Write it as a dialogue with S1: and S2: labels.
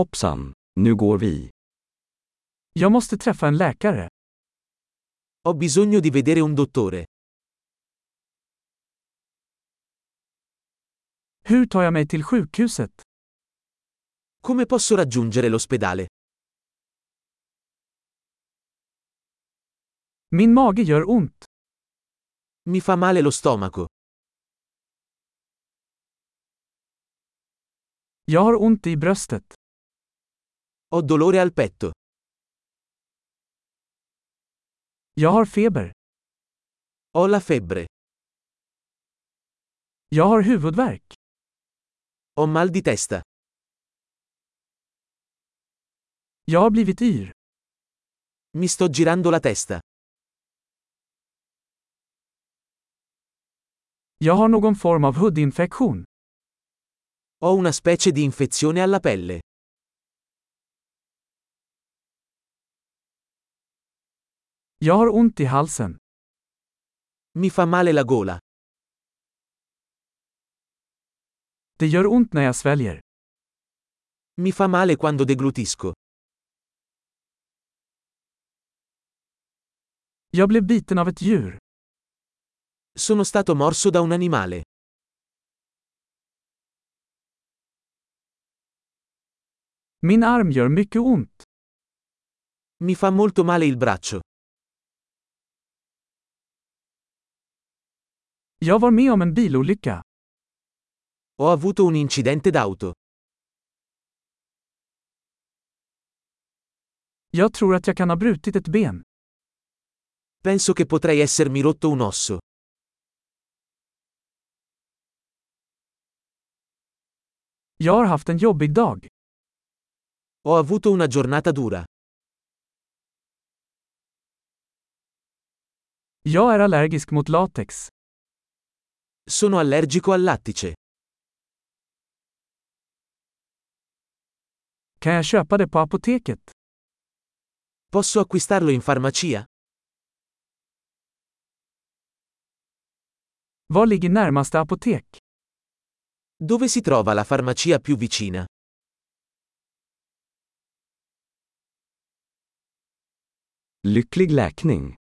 S1: Hoppsan, nu går vi.
S2: Jag måste träffa en läkare.
S3: Ho bisogno di vedere un dottore.
S2: Hur tar jag mig till sjukhuset?
S3: Come posso raggiungere l'ospedale?
S2: Min mage gör ont.
S3: Mi fa male lo stomaco.
S2: Jag har ont i bröstet.
S3: Ho dolore al petto.
S2: Jag har feber.
S3: Ho la febbre.
S2: Jag har huvudvärk.
S3: Ho mal di testa.
S2: Jag har blivit yr.
S3: Mi sto girando la testa.
S2: Jag har någon form av hudinfektion.
S3: Ho una specie di infezione alla pelle.
S2: Jag har ont i halsen.
S3: Mi fa male la gola.
S2: Det gör ont när jag sväljer.
S3: Mi fa male quando deglutisco.
S2: Jag blev biten av ett djur.
S3: Sono stato morso da un animale.
S2: Min arm gör mycket ont.
S3: Mi fa molto male il braccio.
S2: Jag var med om en bilolycka.
S3: Ho avuto un incidente d'auto.
S2: Jag tror att jag kan ha brutit ett ben.
S3: Penso che potrei essermi rotto un osso.
S2: Jag har haft en jobbig dag.
S3: Ho avuto una giornata dura.
S2: Jag är allergisk mot latex.
S3: Sono allergico al lattice.
S2: Kan jag köpa det på apoteket?
S3: Posso acquistarlo in farmacia?
S2: Var ligger närmaste apotek?
S3: Dove si trova la farmacia più vicina?
S1: Lycklig läkning!